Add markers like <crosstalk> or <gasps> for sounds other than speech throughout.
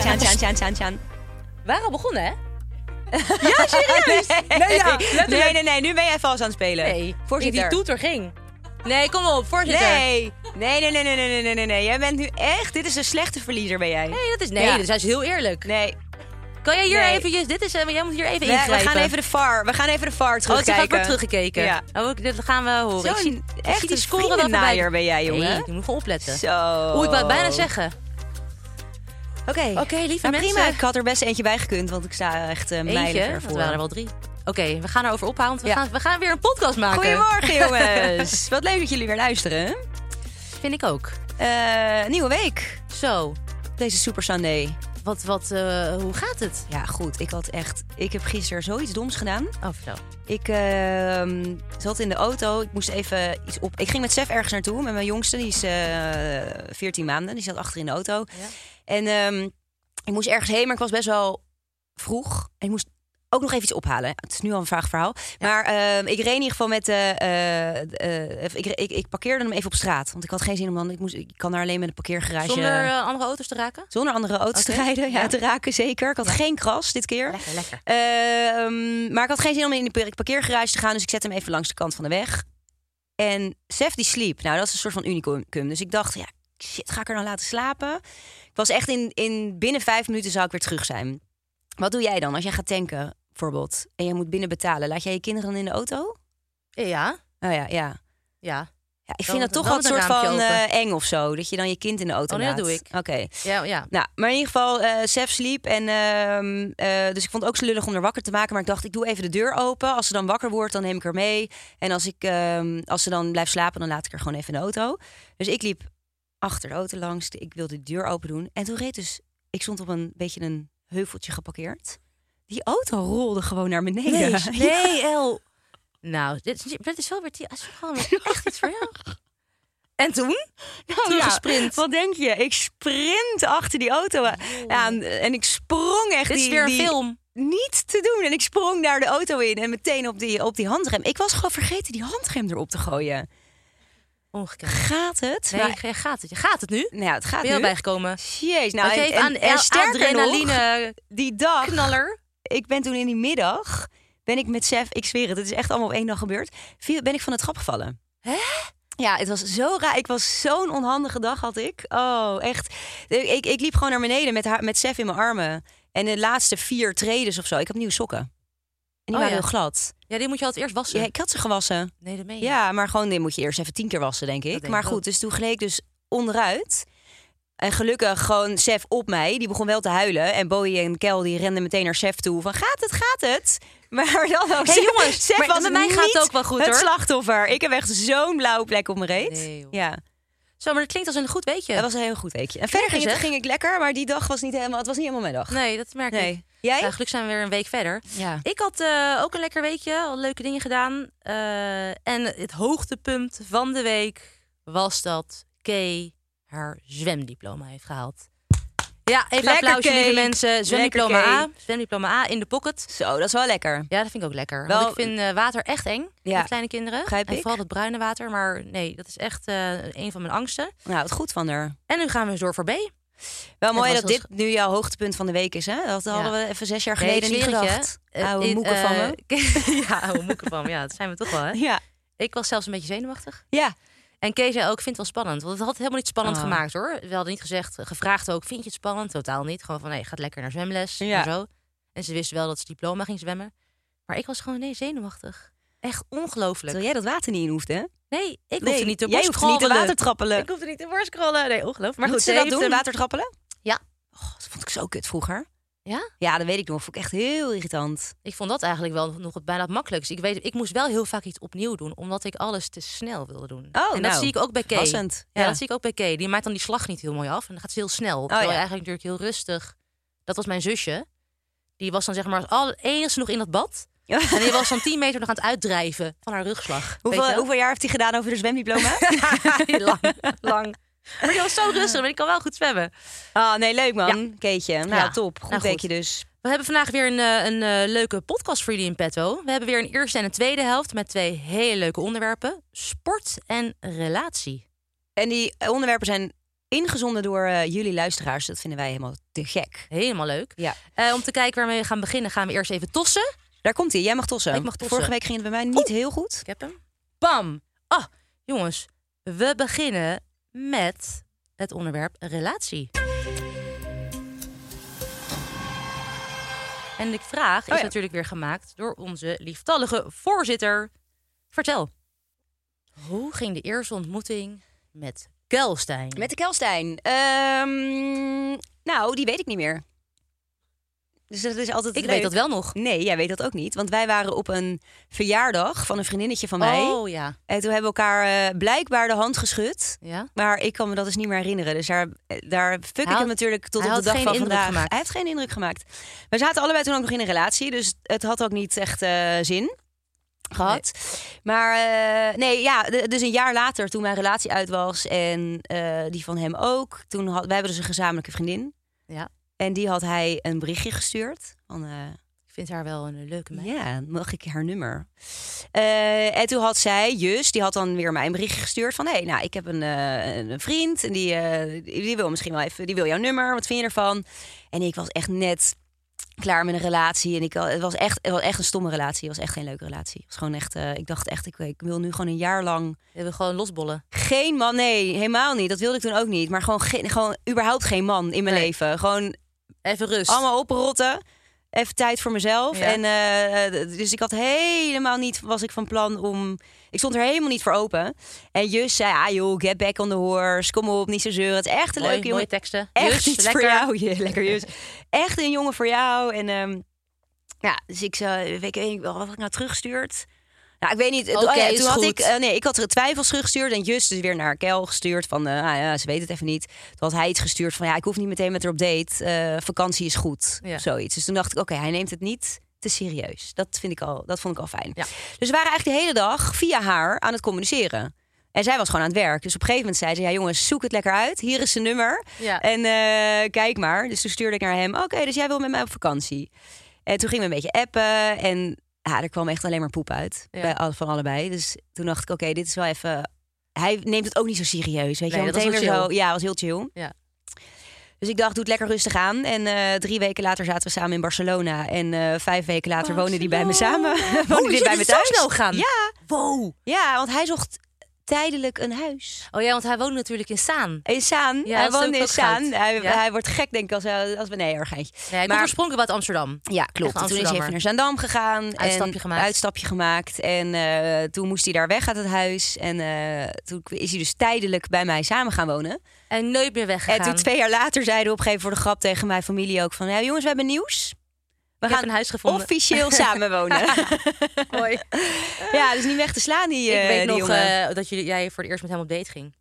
Tjan, tjan, tjan, tjan, tjan. We waren al begonnen, hè? Ja, serieus? Nee, ja, letterlijk. nee, nee, nee, nu ben jij vals aan het spelen. Nee, voorzitter. Die toeter ging. Nee, kom op, voorzitter. Nee. nee, nee, nee, nee, nee, nee, nee, nee. Jij bent nu echt, dit is een slechte verliezer ben jij. Nee, dat is, nee, Ja. dat is heel eerlijk. Nee, Kan jij hier Nee. eventjes, dit is, eh, jij moet hier even we, we ingrijpen. gaan even de VAR, we gaan even de VAR Oh, ze terugkijken. gaat wordt teruggekeken. Ja. Oh, ik- dat gaan we horen. Ik Zo'n zie, ik zie echte die score wel vriendennaaier voorbij. ben jij, jongen. Nee, je moet gewoon opletten. Zo. Oeh, ik wou het bijna zeggen. Oké, Oké, lieve Nou, mensen. prima, ik had er best eentje bij gekund, want ik sta echt eh mijlen Eentje, want ervoor. we waren er wel drie. Oké, we gaan erover ophouden, want we, Ja. gaan, we gaan weer een podcast maken. <laughs> Goedemorgen, jongens. Wat leuk dat jullie weer luisteren. Vind ik ook. Eh, nieuwe week, Zo, deze Super Sunday. wat, wat, eh, hoe gaat het? Ja, goed. Ik had echt. Ik heb gisteren zoiets doms gedaan. Oh, vertel. Ik ehm, zat in de auto. Ik moest even iets op. Ik ging met Sef ergens naartoe. Met mijn jongste, die is eh 14 maanden. Die zat achter in de auto. En ehm, ik moest ergens heen, maar ik was best wel vroeg. En ik moest ook nog even iets ophalen. Het is nu al een vaag verhaal. Maar ehm, ik reed in ieder geval met. eh, eh, eh, ik, ik, ik parkeerde hem even op straat. Want ik had geen zin om dan. Ik, moest, ik kan daar alleen met een parkeergarage. Zonder eh, andere auto's te raken? Zonder andere auto's Oké, te rijden. Ja, ja. te raken zeker. Ik had geen kras dit keer. Lekker, lekker. Ehm, maar ik had geen zin om in de parkeergarage te gaan. Dus ik zette hem even langs de kant van de weg. En Sef die sliep. Nou, dat is een soort van unicum. Dus ik dacht, ja, shit, ga ik er dan laten slapen? Ik was echt in, in binnen vijf minuten zou ik weer terug zijn. Wat doe jij dan als jij gaat tanken, bijvoorbeeld? En je moet binnen betalen. Laat jij je kinderen dan in de auto? Ja, Oh ja, ja. ja. ja ik Dan vind dat moet- toch dan wel een moet een soort raampje van open. eh, eng of zo. Dat je dan je kind in de auto Oh, nee, laat. dat doe ik. Oké. Ja, ja. Nou, maar in ieder geval, eh Sef sliep. En, ehm, eh, dus ik vond het ook zo lullig om haar wakker te maken. Maar ik dacht, ik doe even de deur open. Als ze dan wakker wordt, dan neem ik haar mee. En als, ik, ehm, als ze dan blijft slapen, dan laat ik haar gewoon even in de auto. Dus ik liep achter de auto langs. Ik wilde de deur open doen. En toen reed dus... Ik stond op een beetje een heuveltje geparkeerd. Die auto rolde gewoon naar beneden. Nee, <laughs> nee, El. Nou, dit, is- dit is wel weer die- dat is gewoon weer echt iets voor jou. En toen? toen gesprint. Wat denk je? Ik sprint achter die auto. Ja, en, en ik sprong echt Oh. Dit is die, weer een die- film. niet te doen. En ik sprong daar de auto in en meteen op die, op die handrem. Ik was gewoon vergeten die handrem erop te gooien. Ongekend. Gaat het? Nee, Maar- je gaat het. Je gaat het nu? nou ja, het gaat Ben je al nu. bijgekomen? Jeez, nou, Had je en, even en, aan en el- sterker nog, adrenaline die dag, knaller? ik ben toen in die middag, ben ik met Sef, ik zweer het, het is echt allemaal op één dag gebeurd, viel- ben ik van het trap gevallen. Hè? Ja, het was zo raar. Ik was zo'n onhandige dag had ik. Oh, echt. Ik, ik liep gewoon naar beneden met, haar, met Sef in mijn armen. En de laatste vier tredes of zo, ik heb nieuwe sokken. En die Oh, waren ja. heel glad. Ja, die moet je altijd eerst wassen. Ja, ik had ze gewassen. Nee, dat meen je. Ja, maar gewoon dit moet je eerst even tien keer wassen, denk ik. denk maar ik ook. goed, dus toen gleed ik dus onderuit. En gelukkig gewoon Sef op mij. Die begon wel te huilen. En Bowie en Kel die renden meteen naar Sef toe. Van gaat het, gaat het? <laughs> Maar dan ook. Hey, Sef- jongens, Sef maar was met mij gaat het niet ook wel goed, het hoor. slachtoffer. Ik heb echt zo'n blauwe plek op mijn reet. Nee, joh. ja, Zo, maar dat klinkt als een goed weetje. dat was een heel goed weekje. En verder Lekker, ging, zeg. het, ging ik lekker, maar die dag was niet helemaal, het was niet helemaal mijn dag. Nee, dat merk Nee. ik. Jij? Ja, gelukkig zijn we weer een week verder. Ja. Ik had eh, ook een lekker weekje, al leuke dingen gedaan. Eh, en het hoogtepunt van de week was dat Kay haar zwemdiploma heeft gehaald. Ja, even Lekker applausje, lieve cake. mensen. Zwemdiploma Lekker A. cake. Zwemdiploma A in de pocket. Zo, dat is wel lekker. Ja, dat vind ik ook lekker. Wel- Want ik vind eh, water echt eng Ja. voor kleine kinderen. Begrijp en ik. vooral het bruine water. Maar nee, dat is echt eh, een van mijn angsten. Nou, het goed van haar. En nu gaan we eens door voor B. Wel mooi was dat wel dit nu jouw hoogtepunt van de week is, hè? Dat hadden we even zes jaar geleden niet gedacht. Oude moeken van me. me. Eh, <laughs> ja, oude moeken van me. Ja, dat zijn we toch wel, hè? Ja. Ik was zelfs een beetje zenuwachtig. Ja. En Kees zei ook, ik vind het wel spannend. Want het had het helemaal niet spannend Oh. gemaakt hoor. We hadden niet gezegd, eh, gevraagd ook, vind je het spannend? Totaal niet. Gewoon van, nee, gaat lekker naar zwemles Ja. en zo. En ze wist wel dat ze diploma ging zwemmen. Maar ik was gewoon, nee, zenuwachtig. Echt ongelooflijk. Terwijl jij dat water niet in hoeft, hè? Nee, ik Nee, hoefde niet te Jij hoeft niet te borstcrawlen. water trappelen. Ik hoefde niet te borstcrawlen. Nee, ongelooflijk. Maar Moet goed, ze ze dat heeft doen, hem- water trappelen? Ja. Oh, dat vond ik zo kut vroeger. Ja? Ja, dat weet ik nog. Vond ik echt heel irritant. Ik vond dat eigenlijk wel nog het bijna het makkelijkste. Ik, weet, ik moest wel heel vaak iets opnieuw doen, omdat ik alles te snel wilde doen. Oh, en dat nou, zie ik ook bij Kay. passend. Ja. Ja. Oh, dat zie ik ook bij Kay. Die maakt dan die slag niet heel mooi af en dan gaat ze heel snel. terwijl ja. je eigenlijk natuurlijk heel rustig. Dat was mijn zusje. Die was dan zeg maar al enigste nog in dat bad. Ja. En die was dan 10 meter nog aan het uitdrijven van haar rugslag. Weet <laughs> Hoeveel, je wel? hoeveel jaar heeft hij gedaan over de <laughs> zwemdiploma? lang, lang. Maar die was zo rustig, maar die kan wel goed zwemmen. Ah, nee, leuk man. Keetje. Nou, Ja. top. Goed Nou, goed. weekje dus. We hebben vandaag weer een, eh, een eh, leuke podcast voor jullie in petto. We hebben weer een eerste en een tweede helft met twee hele leuke onderwerpen. Sport en relatie. En die eh, onderwerpen zijn ingezonden door eh, jullie luisteraars. Dat vinden wij helemaal te gek. Helemaal leuk. Ja. Eh, om te kijken waarmee we gaan beginnen, gaan we eerst even tossen. Daar komt hij. Jij mag tossen. Ik mag tossen. Vorige week ging het bij mij niet heel goed. Ik heb hem. Bam! Ah, jongens. We beginnen met het onderwerp relatie. En de vraag is Oh ja. natuurlijk weer gemaakt door onze lieftallige voorzitter. Vertel. Hoe ging de eerste ontmoeting met Kelstein? Met de Kelstein. Ehm, nou, die weet ik niet meer. Dus dat is altijd Ik leuk. weet dat wel nog. Nee, jij weet dat ook niet. Want wij waren op een verjaardag van een vriendinnetje van mij. Oh ja. En toen hebben we elkaar eh, blijkbaar de hand geschud. ja. Maar ik kan me dat dus niet meer herinneren. Dus daar, eh, daar fuck ik had- hem natuurlijk tot hij op had de dag geen van indruk vandaag. gemaakt. Hij heeft geen indruk gemaakt. We zaten allebei toen ook nog in een relatie. Dus het had ook niet echt eh, zin gehad. Maar eh, nee, ja, d- dus een jaar later toen mijn relatie uit was en eh, die van hem ook. Toen had, wij hebben dus een gezamenlijke vriendin. Ja. En die had hij een berichtje gestuurd. Van, eh, Ik vind haar wel een leuke meid. ja, mag ik haar nummer? Eh, en toen had zij, Jus, die had dan weer mij een berichtje gestuurd van... hé, hey, nou, ik heb een, eh, een vriend en die, eh, die wil misschien wel even... die wil jouw nummer, wat vind je ervan? En ik was echt net klaar met een relatie. En ik, al- het, was echt, het was echt een stomme relatie. Het was echt geen leuke relatie. Het was gewoon echt, eh, ik dacht echt, ik, ik wil nu gewoon een jaar lang... We hebben gewoon losbollen. geen man, nee, helemaal niet. Dat wilde ik toen ook niet. Maar gewoon, geen, gewoon überhaupt geen man in mijn Nee. leven. Gewoon Even rust. allemaal oprotten. Even tijd voor mezelf. Dus- Ja. En, eh, eh, dus ik had helemaal niet, was ik van plan om... Ik stond er helemaal niet voor open. En Jus zei, ah joh, get back on the horse. Kom op, niet zo zeuren. Het is echt een Mooi, leuke jongen. mooie teksten. Echt Jus, iets lekker. voor jou. Je, lekker Jus. Echt een jongen voor jou. En ehm, ja, dus ik zei, weet ik weet niet, wat had ik nou teruggestuurd? Nou, ik weet niet. Oké, oh ja, is toen had goed. ik, eh, nee, ik had er twijfels teruggestuurd en Just dus weer naar Kel gestuurd van, eh, ah ja, ze weet het even niet. Toen had hij iets gestuurd van, ja, ik hoef niet meteen met haar op date. eh, vakantie is goed, Ja. of zoiets. Dus toen dacht ik, oké, hij neemt het niet te serieus. Dat vind ik al, dat vond ik al fijn. Ja. Dus we waren eigenlijk de hele dag via haar aan het communiceren. En zij was gewoon aan het werk. Dus op een gegeven moment zei ze, ja jongens, zoek het lekker uit. Hier is zijn nummer. Ja. En eh, kijk maar. Dus toen stuurde ik naar hem. Oké, dus jij wil met mij op vakantie. En toen gingen we een beetje appen. En ja, er kwam echt alleen maar poep uit. Ja. Bij, al- van allebei. Dus toen dacht ik, oké, dit is wel even... Hij neemt het ook niet zo serieus. Weet je, Nee, wel. dat was Meteen wel weer chill. zo. Ja, was heel chill. Ja. Dus ik dacht, doe het lekker rustig aan. En eh, drie weken later zaten we samen in Barcelona. En eh, vijf weken later woonde die bij me samen. <laughs> woonde die Oh, shit, bij is me het zo thuis. snel gegaan? Ja, Wow. ja, want hij zocht tijdelijk een huis. Oh ja, want hij woont natuurlijk in Saan. In Saan. Ja, hij dat is woont ook in ook goud. Saan. Hij, Ja. hij wordt gek, denk ik, als, hij- als we... Nee, erg geintje. Ja, ik ben Maar- oorspronkelijk uit Amsterdam. Ja, klopt. een En Toen is hij Amsterdammer. even naar Zaandam gegaan. Uitstapje en, gemaakt. Uitstapje gemaakt. En eh, toen moest hij daar weg uit het huis. En eh, toen is hij dus tijdelijk bij mij samen gaan wonen. En nooit meer weggegaan. En toen twee jaar later zeiden we op een gegeven moment voor de grap tegen mijn familie ook van... Ja, jongens, we hebben nieuws. We Ik heb gaan een huis gevonden. <laughs> officieel samen wonen. Mooi. ja, dus niet weg te slaan die, eh ik weet die nog jongen. eh, dat jullie, jij voor het eerst met hem op date ging.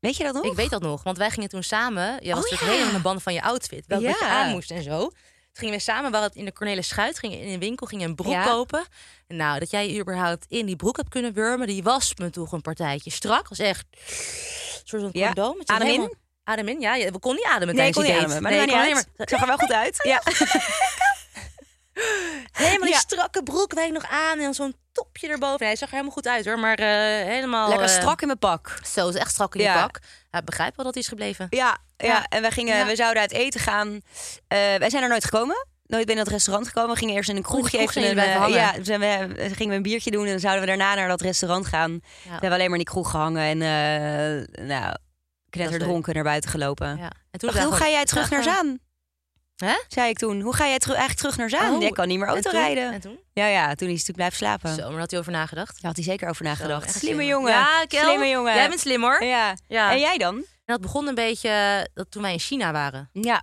weet je dat nog? Ik weet dat nog, want wij gingen toen samen... Jij was Oh natuurlijk ja. helemaal in de band van je outfit. Welke Ja. je aan moest en zo. Toen gingen we samen we hadden het in de Cornelis Schuit, gingen in een winkel, gingen een broek Ja. kopen. Nou, dat jij überhaupt in die broek hebt kunnen wurmen, die was me toch een partijtje strak. was echt een soort van Ja. condoom. Het zat Adem in? helemaal- Adem in? Ja, je- we kon niet ademen Nee, ik tijdens kon die niet date. ademen. Maar dat ik maakt kon niet uit. alleen Ik zag er wel goed <laughs> uit. Ja. maar- Helemaal die Ja. strakke broek weet ik nog aan en dan zo'n topje erboven. Nee, hij zag er helemaal goed uit hoor, maar eh, helemaal... Lekker eh, strak in mijn pak. Zo, is echt strak in die Ja. pak. Ja, begrijp wel dat hij is gebleven. Ja, ja. Ja. en we, gingen, Ja. we zouden uit eten gaan. Eh, wij zijn er nooit gekomen. Nooit binnen dat restaurant gekomen. We gingen eerst in een kroegje Oh, kroeg zijn even. jullie een, blijven eh, hangen. ja, zijn we, eh, gingen we een biertje doen. En dan zouden we daarna naar dat restaurant gaan. Dan Ja. hebben we alleen maar in die kroeg gehangen. En eh nou, knetterdronken naar buiten gelopen. Ja. En toen Dacht, hoe ga jij terug naar Zaan? Hè? Zei ik toen. Hoe ga jij teru- eigenlijk terug naar Zaan? Oh, ik kan niet meer auto rijden. En toen? Ja, ja, toen is hij natuurlijk blijven slapen. Zo, maar had hij over nagedacht. Daar had hij zeker over Zo, nagedacht. echt Slimme slim. jongen. Ja, Kel, Slimme jongen. Jij bent slim hoor. Ja. Ja. En jij dan? En dat begon een beetje eh, dat toen wij in China waren. Ja.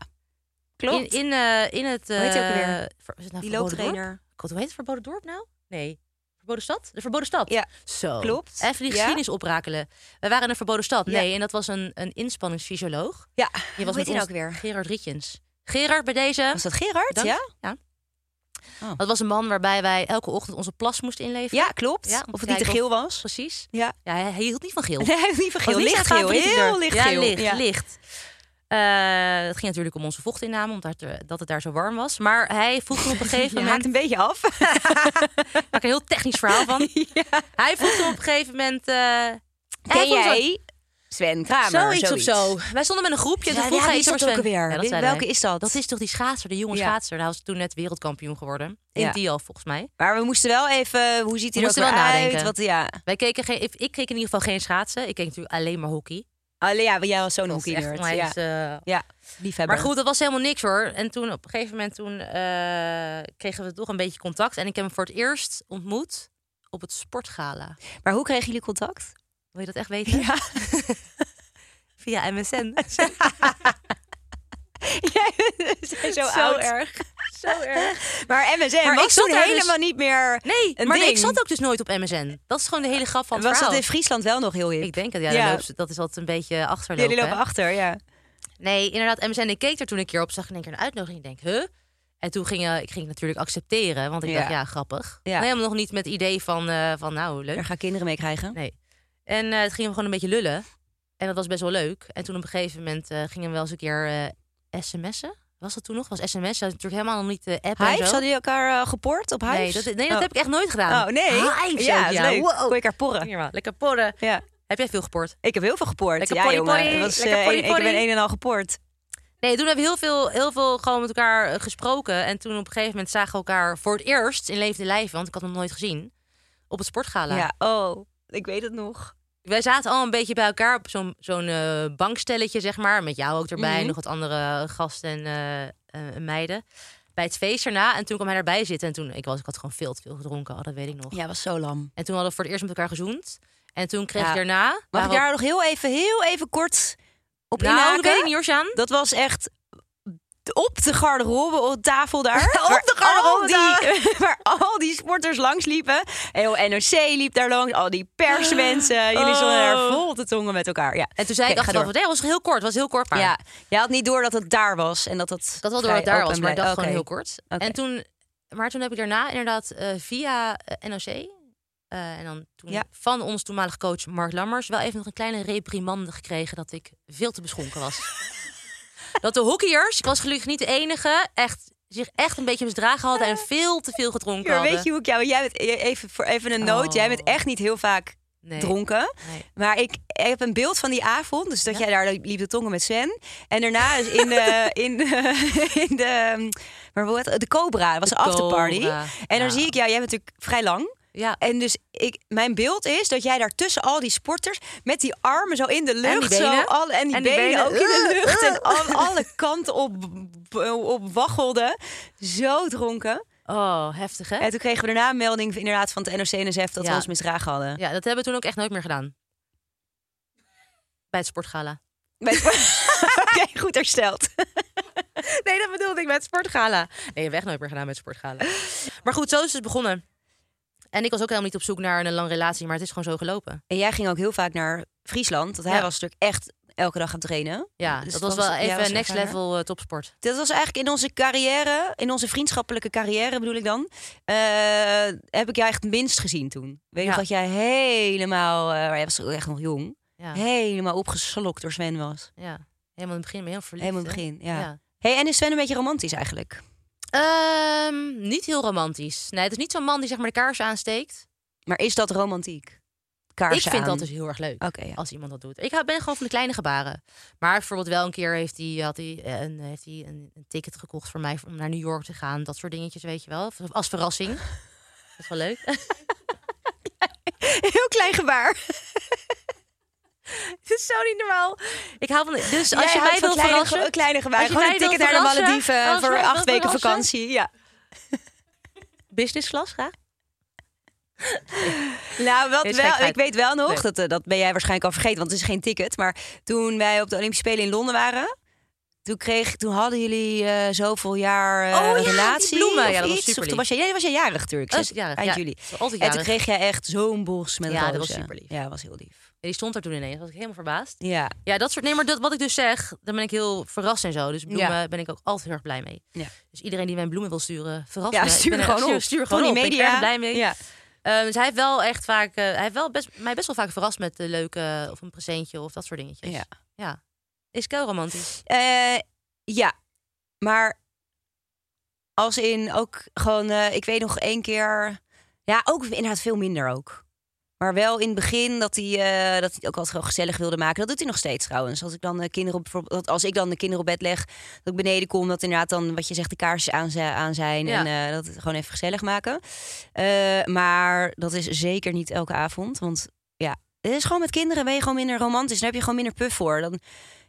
Klopt. In, in, eh, in het... heet die ook eh, alweer? ver- is het nou Verboden die Dorp? looptrainer. God, hoe heet het verboden dorp nou? Nee. Verboden stad? De verboden stad. Ja, Zo. klopt. Even die Ja. geschiedenis oprakelen. We waren in een verboden stad. Ja. Nee, en dat was een, een inspanningsfysioloog. Ja. Die was Hoe heet met die nou ons ook weer? Gerard Rietjens. Gerard, bij deze. Was dat Gerard? Dank. Ja? Oh. Dat was een man waarbij wij elke ochtend onze plas moesten inleveren. Ja, klopt. Ja, om te of het niet te kijken geel was. Precies. Ja. Ja, hij, hij hield niet van <laughs> geel. Nee, hij heeft niet van geel. Was niet Licht zijn geel. favoriete Heel kleur. licht ja, geel. licht, licht. Eh, het ging natuurlijk om onze vochtinname, omdat er- dat het daar zo warm was. Maar hij vroeg me op een <laughs> gegeven Je moment... haakt een beetje <laughs> af. Ik maak er een heel technisch verhaal <laughs> van. Hij vroeg me op een gegeven moment... eh, hij Ken vroeg zo- jij Sven Kramer? zoiets, of zo. Wij stonden met een groepje. en Ja, toen vroeg ja, hij wie iets is over dat ook Sven. alweer? Ja, dat Wie- zei welke hij. is dat? Dat is toch die schaatser, de jonge Ja. schaatser. Nou, Hij was toen net wereldkampioen geworden. In Ja. die al, volgens mij. Maar we moesten wel even... Hoe ziet hij er ook moesten wel weer uit? nadenken. Wat, ja. Wij keken geen, ik keek in ieder geval geen schaatsen. Ik keek natuurlijk alleen maar hockey. Allee, Ah, ja, jij was zo'n Dat is hockey echt nerd. Ja. onwijs, eh, ja, liefhebber. Maar goed, dat was helemaal niks hoor. En toen op een gegeven moment toen, eh, kregen we toch een beetje contact. En ik heb hem voor het eerst ontmoet op het sportgala. Maar hoe kregen jullie contact? Wil je dat echt weten? Ja. <laughs> Via <laughs> MSN. Jij bent <laughs> zo, Zo oud. erg. <laughs> Zo erg. Maar MSN Maar was ik zat toen daar dus- helemaal niet meer Nee, een maar nee, ik ding. zat ook dus nooit op MSN. Dat is gewoon de hele grap van het Was dat verhaal. in Friesland wel nog heel hip? Ik denk het, ja. Ja. dan lopen ze- dat is altijd een beetje achterlopen. Jullie lopen hè? achter, ja. Nee, inderdaad, MSN. Ik keek er toen een keer op, zag in één keer een uitnodiging. Ik denk, huh? En toen ging eh, ik ging het natuurlijk accepteren, want ik Ja. dacht, ja, grappig. Ja. Helemaal nog niet met het idee van, eh, van nou, leuk. Daar ga ik kinderen mee krijgen. Nee. En eh, het ging hem gewoon een beetje lullen. En dat was best wel leuk. En toen op een gegeven moment eh, gingen we wel eens een keer eh, sms'en. Was dat toen nog? Was sms? Dat natuurlijk helemaal nog niet de app en zo. Hives, hadden jullie elkaar eh, gepoord op Hives? nee, dat, nee, dat Oh. heb ik echt nooit gedaan. Oh, nee? Hives ja, ook, is ja. leuk. Wow. Kon je elkaar porren. Hier maar, Lekker porren. Ja. Heb jij veel geport? Ik heb heel veel gepoord. Lekker ja, potty jongen. potty, Het was, lekker eh, potty een- potty. Ik ben een en al gepoord. Nee, toen hebben we heel veel, heel veel gewoon met elkaar eh, gesproken. En toen op een gegeven moment zagen we elkaar voor het eerst in levende lijven, want ik had hem nooit gezien, op het sportgala. Ja, oh, ik weet het nog. Wij zaten al een beetje bij elkaar op zo'n zo'n eh, bankstelletje, zeg maar. Met jou ook erbij, Mhm. nog wat andere gasten en eh, eh, en meiden. Bij het feest erna. En toen kwam hij daarbij zitten. En toen, ik, was, ik had gewoon veel te veel gedronken, oh, dat weet ik nog. Ja, was zo lam. En toen hadden we voor het eerst met elkaar gezoend. En toen kreeg Ja. ik daarna... Mag waren ik we- daar nog heel even, heel even kort op Nou, dat inhaken? weet ik niet hoor, Sjaan. Dat was echt op de garderobe op de tafel daar. <laughs> Op Waar de garderobe al die, <laughs> Waar al die sporters langs liepen. Heel NOC liep daar langs. Al die <gasps> persmensen. Jullie stonden daar Oh. vol te tongen met elkaar. Ja. En toen zei Oké, ik ga achteraf, door. nee, dat was heel kort, het was heel kort. Maar Ja, jij had niet door dat het daar was. En dat het Ik had wel door vrij dat daar open was, maar ik dacht bleef. gewoon heel Oké. kort. Oké. En toen, maar toen heb ik daarna inderdaad eh, via eh, NOC... eh, en dan toen Ja. van ons toenmalig coach Mark Lammers... wel even nog een kleine reprimande gekregen dat ik veel te beschonken <laughs> was. dat de hockeyers, ik was gelukkig niet de enige... echt zich echt een beetje misdragen hadden en veel te veel gedronken Eh. Ja, maar hadden. weet je hoe ik jou... Jij bent, even, voor even een noot. Oh. Jij bent echt niet heel vaak Nee, dronken. nee. Maar ik heb een beeld van die avond. Dus dat jij daar liep de tongen met Sven. En daarna is <laughs> in de... in de, in de ehm, maar hoe heet het? De Cobra. Dat was een afterparty. Cobra, En dan ja. zie ik jou... Jij bent natuurlijk vrij lang. Ja, En dus ik, mijn beeld is dat jij daar tussen al die sporters... met die armen zo in de lucht. die benen. Zo, alle, en die En die benen, benen. ook in de <laughs> lucht. En aan alle kanten op, op waggelde. Zo dronken. oh, heftig hè? En toen kregen we daarna een melding inderdaad van het NOC-NSF... dat Ja. we ons misdragen hadden. Ja, dat hebben we toen ook echt nooit meer gedaan. Bij het sportgala. Bij het- <laughs> Oké, goed hersteld. Nee, dat bedoelde ik met sportgala. Nee, weg nooit meer gedaan met sportgala. Maar goed, zo is het begonnen. En ik was ook helemaal niet op zoek naar een lange relatie, maar het is gewoon zo gelopen. En jij ging ook heel vaak naar Friesland. Want hij Ja. was natuurlijk echt elke dag aan het trainen. Ja, Dus dat was dat wel was- even ja, was next ervaring. level eh, topsport. Dat was eigenlijk in onze carrière, in onze vriendschappelijke carrière bedoel ik dan... eh, heb ik jou echt het minst gezien toen. Weet je Ja. nog dat jij helemaal... eh, maar jij was ook echt nog jong. Ja, Helemaal opgeslokt door Sven was. ja. Helemaal in het begin ben je heel verliefd. Helemaal in hè? het begin, ja. Hey, en is Sven een beetje romantisch eigenlijk? Ehm, niet heel romantisch. Nee, het is niet zo'n man die zeg maar de kaarsen aansteekt. Maar is dat romantiek? Kaarsen ik vind aan. dat dus heel erg leuk. Oké, ja. Als iemand dat doet. Ik hou- ben gewoon van de kleine gebaren. Maar bijvoorbeeld wel een keer heeft hij, had hij, eh, een, heeft hij een, een ticket gekocht voor mij om naar New York te gaan. Dat soort dingetjes, weet je wel. Als verrassing. <laughs> Dat is wel leuk. <laughs> <laughs> Heel klein gebaar. <laughs> Het is zo niet normaal. Ik hou van. Dus Jij als je houdt mij van wil kleine, verrassen, ge- kleine gebaar. Als je Gewoon een mij wil ticket naar de verrassen, Malediven eh, als voor jij wil acht weken verrassen. vakantie. Ja. business class graag. <laughs> Nou, wat Dit is wel, gekheid. ik weet wel nog, Leuk. dat, eh, dat ben jij waarschijnlijk al vergeten, want het is geen ticket. Maar toen wij op de Olympische Spelen in Londen waren, toen, kreeg, toen hadden jullie eh, zoveel jaar eh, Oh ja, die relatie. bloemen. of Ja, dat was iets. Of superlief. toen was jij, jij was jij jarig natuurlijk, Oh, zes, jarig, eind ja. juli. Dat is altijd En toen jarig. kreeg jij echt zo'n bos met Ja, dat rozen. was superlief. Ja, dat was heel lief. En die stond daar toen ineens. was ik helemaal verbaasd. Ja. Ja, dat soort. Nee, maar dat, wat ik dus zeg, daar ben ik heel verrast en zo. Dus bloemen Ja. ben ik ook altijd heel erg blij mee. Ja. Dus iedereen die mij een bloemen wil sturen, verrast Ja, me. Ik stuur ben er- gewoon op. Stuur gewoon Tony op. Ik ben Media. er erg blij mee. Ja. Eh, dus hij heeft wel echt vaak, eh, hij heeft wel best, mij best wel vaak verrast met de leuke of een presentje of dat soort dingetjes. Ja. ja. Is kei romantisch. Eh, ja, maar als in ook gewoon, eh, ik weet nog één keer, ja, ook inderdaad veel minder ook. Maar wel in het begin dat hij, eh, dat hij het ook altijd gewoon gezellig wilde maken. Dat doet hij nog steeds trouwens. Als ik dan de kinderen op, bijvoorbeeld- dat als ik dan de kinderen op bed leg, dat ik beneden kom, dat inderdaad dan wat je zegt de kaarsjes aan, zi- aan zijn Ja. en eh, dat het gewoon even gezellig maken. Eh, maar dat is zeker niet elke avond, want ja, het is gewoon met kinderen ben je gewoon minder romantisch. Dan heb je gewoon minder puff voor. Dan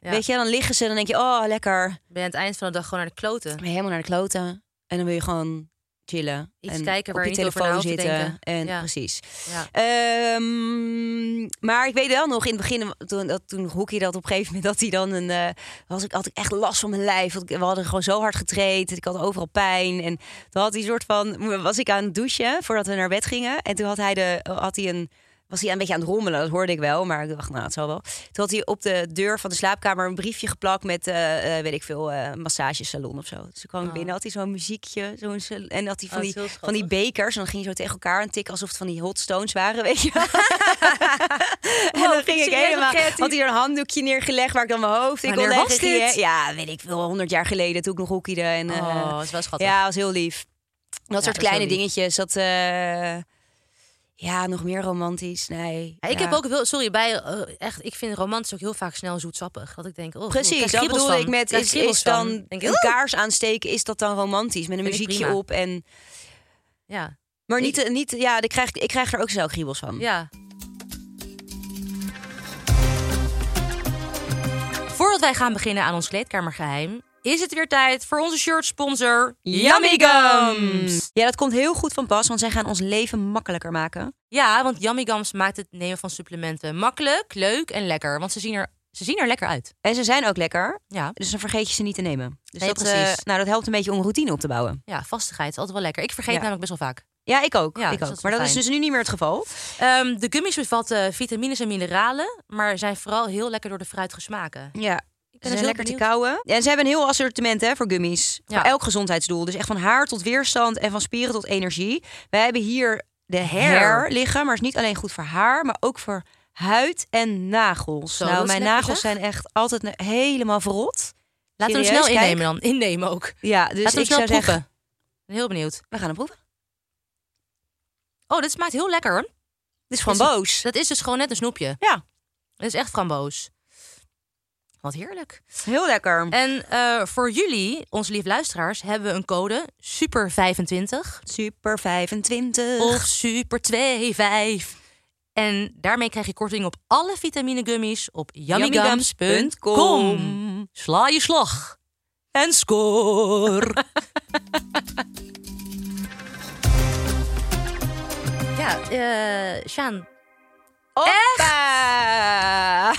Ja. Weet je, dan liggen ze en dan denk je, oh, lekker. Ben je aan het eind van de dag gewoon naar de kloten. Ben je helemaal naar de kloten. En dan wil je gewoon chillen. Iets en kijken waar op je je niet over telefoon na hoeft te zitten. denken. En Ja. precies. Ja. Ehm, maar ik weet wel nog, in het begin, toen, dat, toen hoekje dat op een gegeven moment, dat hij dan een. eh was ik, had ik echt last van mijn lijf. Want ik- we hadden gewoon zo hard getraind. Ik had overal pijn. En toen had hij een soort van. Was ik aan het douchen voordat we naar bed gingen. En toen had hij, de, had hij een. Was hij een beetje aan het rommelen, dat hoorde ik wel. Maar ik dacht, nou, het zal wel. Toen had hij op de deur van de slaapkamer een briefje geplakt met, eh, eh, weet ik veel, eh, massagesalon of zo. Dus toen kwam ik Oh. binnen, had hij zo'n muziekje. Zo'n, sal- en had hij van, Oh, die, dat is heel van die schattig. bekers. En dan ging je zo tegen elkaar en tik alsof het van die hot stones waren, weet <laughs> je wel. En Wow, dan ging ik serieus, helemaal. wat creatief. Had hij er een handdoekje neergelegd waar ik dan mijn hoofd in kon Wanneer was leggen. ging, dit? hè? Ja, weet ik veel, honderd jaar geleden toen ik nog hoekiede. En, eh, Oh, dat is wel schattig. ja, was heel lief. Dat dat soort is kleine heel lief. dingetjes. Dat, eh, ja, nog meer romantisch. Nee. Ja, ik ja. heb ook heel, sorry, bij eh, echt, ik vind romantisch ook heel vaak snel zoetsappig. Dat ik denk, oh, ik Precies, krijg dat kriebels bedoelde van. ik met krijg is, kriebels is van. dan denk ik, een oeh. kaars aansteken, is dat dan romantisch? Met een Vind ik muziekje prima. op en... Ja, Maar Ik- niet, eh, niet ja, ik krijg, ik krijg er ook zelf kriebels van. ja. Voordat wij gaan beginnen aan ons kleedkamergeheim, is het weer tijd voor onze shirtsponsor Yummy Gums. Ja, dat komt heel goed van pas, want zij gaan ons leven makkelijker maken. Ja, want Yummy Gums maakt het nemen van supplementen makkelijk, leuk en lekker. Want ze zien er, ze zien er lekker uit. En ze zijn ook lekker, Ja, dus dan vergeet je ze niet te nemen. Dus Nee, dat, eh, precies. nou, dat helpt een beetje om routine op te bouwen. ja, vastigheid is altijd wel lekker. Ik vergeet Ja. namelijk best wel vaak. Ja, ik ook. Ja, ik dus ook. dat is maar wel dat is fijn. dus nu niet meer het geval. Ehm, de gummies bevatten vitamines en mineralen, maar zijn vooral heel lekker door de fruitige smaken. Ja. Ze dus zijn heel lekker te benieuwd. kauwen. En ze hebben een heel assortiment hè, voor gummies. Ja. Voor elk gezondheidsdoel. Dus echt van haar tot weerstand en van spieren tot energie. Wij hebben hier de hair, Hair. liggen. Maar is niet alleen goed voor haar, maar ook voor huid en nagels. Zo, nou, dat is mijn lekker, nagels zeg. zijn echt altijd ne- helemaal verrot. Laten we hem Serieus, snel kijk. innemen dan. Innemen ook. Ja, dus Laten we hem ik snel zou proeven. zeggen, Ik ben heel benieuwd. we gaan hem proeven. Oh, dit smaakt heel lekker hoor. Dit is van Is het- boos. Dat is dus gewoon net een snoepje. Ja, Dat is echt framboos. Wat heerlijk. heel lekker. En eh, voor jullie, onze lief luisteraars, hebben we een code SUPER25 Super 25. of SUPER25. En daarmee krijg je korting op alle vitamine gummies op yummygums.com. Sla je slag en score. ja, eh Sjaan, Hoppa! <laughs>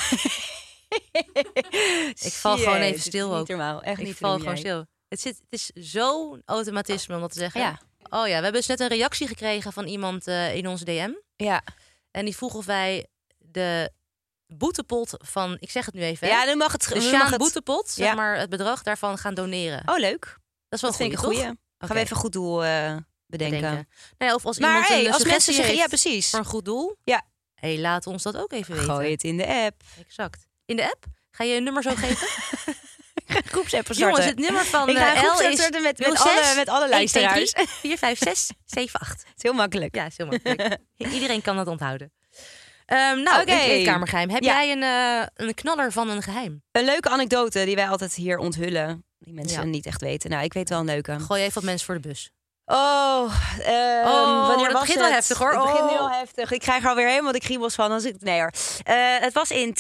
Ik val gewoon even stil ook. Niet normaal. Echt Ik niet te val doen, gewoon jij. stil. Het, zit, het is zo'n automatisme om dat te zeggen. Ja. Oh ja, we hebben dus net een reactie gekregen van iemand eh, in onze DM. Ja. En die vroeg of wij de boetepot van, ik zeg het nu even, hè, ja, dan mag het. de dan Sjaan mag het... boetepot, zeg Ja. maar, het bedrag daarvan gaan doneren. Oh, leuk. dat is wel Dat vind ik een goeie, goeie. toch? Gaan we even een goed doel eh, Oké, bedenken. denken. Nou ja, of als Maar iemand een hey, eh, als mensen suggestie zeggen, ja heeft precies, voor een goed doel, Ja. hey, laat ons dat ook even weten. gooi het in de app. Exact. In de app Ga je je nummer zo <laughs> geven? Groepsappen starten. Jongens, het nummer van Ik ga eh, een groepsapp L is starten met- met alle- met alle luisteraars. 4, 5, <laughs> 6, 7, 8. is heel makkelijk. Ja, is heel <laughs> makkelijk. Iedereen kan dat onthouden. Ehm, nou, Oké. een kleedkamergeheim. Heb Ja. jij een, eh, een knaller van een geheim? Een leuke anekdote die wij altijd hier onthullen. Die mensen Ja. niet echt weten. Nou, ik weet wel een leuke. Gooi even wat mensen voor de bus. Oh, ehm, Oh, wanneer dat was begint het? wel heftig, hoor. Het begint nu Oh. al heftig. Ik krijg er alweer helemaal de kriebels van. Als ik... Nee hoor. Eh, het was in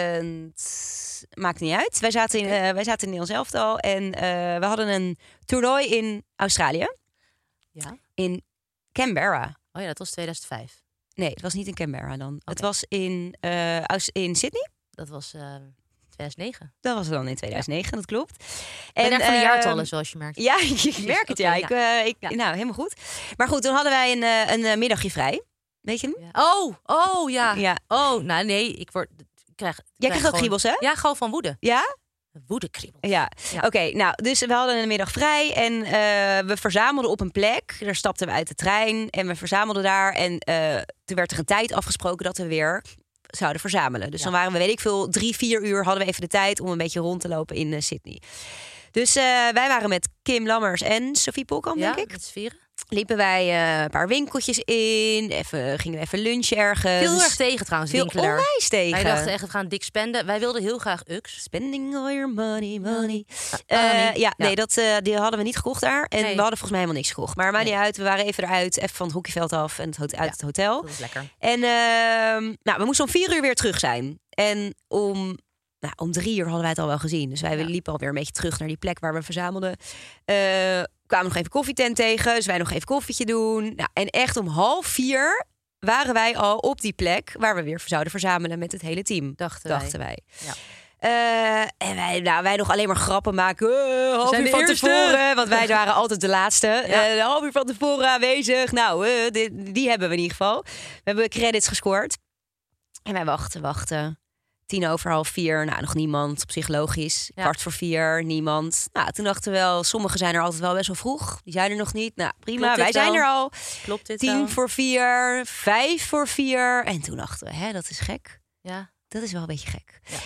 2000... Maakt niet uit. Wij zaten in, eh, wij zaten in Nederlands elftal. En eh, we hadden een toernooi in Australië. Ja. In Canberra. Oh ja, dat was 2005. Nee, het was niet in Canberra dan. Het Oké. was in, eh, Aus- in Sydney. Dat was eh 2009. Dat was dan in 2009, dat klopt. En ben erg van de ehm, jaartallen, zoals je merkt. <laughs> Ja, ik merk het, ja. Oké, Ik, eh, ik, Ja. Nou, helemaal goed. Maar goed, toen hadden wij een, eh, een eh, middagje vrij. Weet je hem? Ja. Oh, oh ja. Ja. Oh, nou nee, ik word... Ik krijg, ik Jij krijg krijgt ook gewoon- kriebels, hè? Ja, gewoon van woede. Ja? Woedekriebel. Ja. Ja. Oké, nou, dus we hadden een middag vrij en eh, we verzamelden op een plek. Daar stapten we uit de trein en we verzamelden daar. En eh, toen werd er een tijd afgesproken dat we weer zouden verzamelen. Dus Ja. dan waren we, weet ik veel, drie, vier uur hadden we even de tijd om een beetje rond te lopen in eh, Sydney. Dus eh, wij waren met Kim Lammers en Sophie Polkamp, ja, denk ik. met z'n vieren. Liepen wij eh, een paar winkeltjes in, even, gingen we even lunchen ergens. Veel erg tegen trouwens, Eh, dus Veel winkelaar. onwijs tegen. Wij dachten echt, we gaan dik spenden. Wij wilden heel graag UX. Spending all your money, money. Ah, Eh, Annie. ja, Ja. nee, dat, eh, die hadden we niet gekocht daar. En Nee. we hadden volgens mij helemaal niks gekocht. Maar maakt Nee. niet uit, we waren even eruit. Even van het hockeyveld af en het hot- uit Ja. het hotel. Dat is lekker. En ehm, nou, we moesten om vier uur weer terug zijn. En om, nou, om drie uur hadden wij het al wel gezien. Dus wij Ja. liepen alweer een beetje terug naar die plek waar we verzamelden. Eh kwamen nog even koffietent tegen. Dus wij nog even koffietje doen. Nou, en echt om half vier waren wij al op die plek... waar we weer zouden verzamelen met het hele team. Dachten wij. dachten wij. Ja. Eh, en wij, nou, wij nog alleen maar grappen maken. Eh, half zijn uur de van eerste. tevoren. Want wij waren altijd de <laughs> laatste. Eh, een half uur van tevoren aanwezig. Nou, eh, die, die hebben we in ieder geval. We hebben credits gescoord. En wij wachten, wachten. Tien over half vier. Nou, nog niemand. Op zich logisch. Ja. Kwart voor vier. Niemand. Nou, toen dachten we wel... Sommigen zijn er altijd wel best wel vroeg. Die zijn er nog niet. Nou, prima. Klopt dit wij zijn wel? er al. Klopt dit wel? Tien voor vier. Vijf voor vier. En toen dachten we, hè, dat is gek. Ja. Dat is wel een beetje gek. Ja.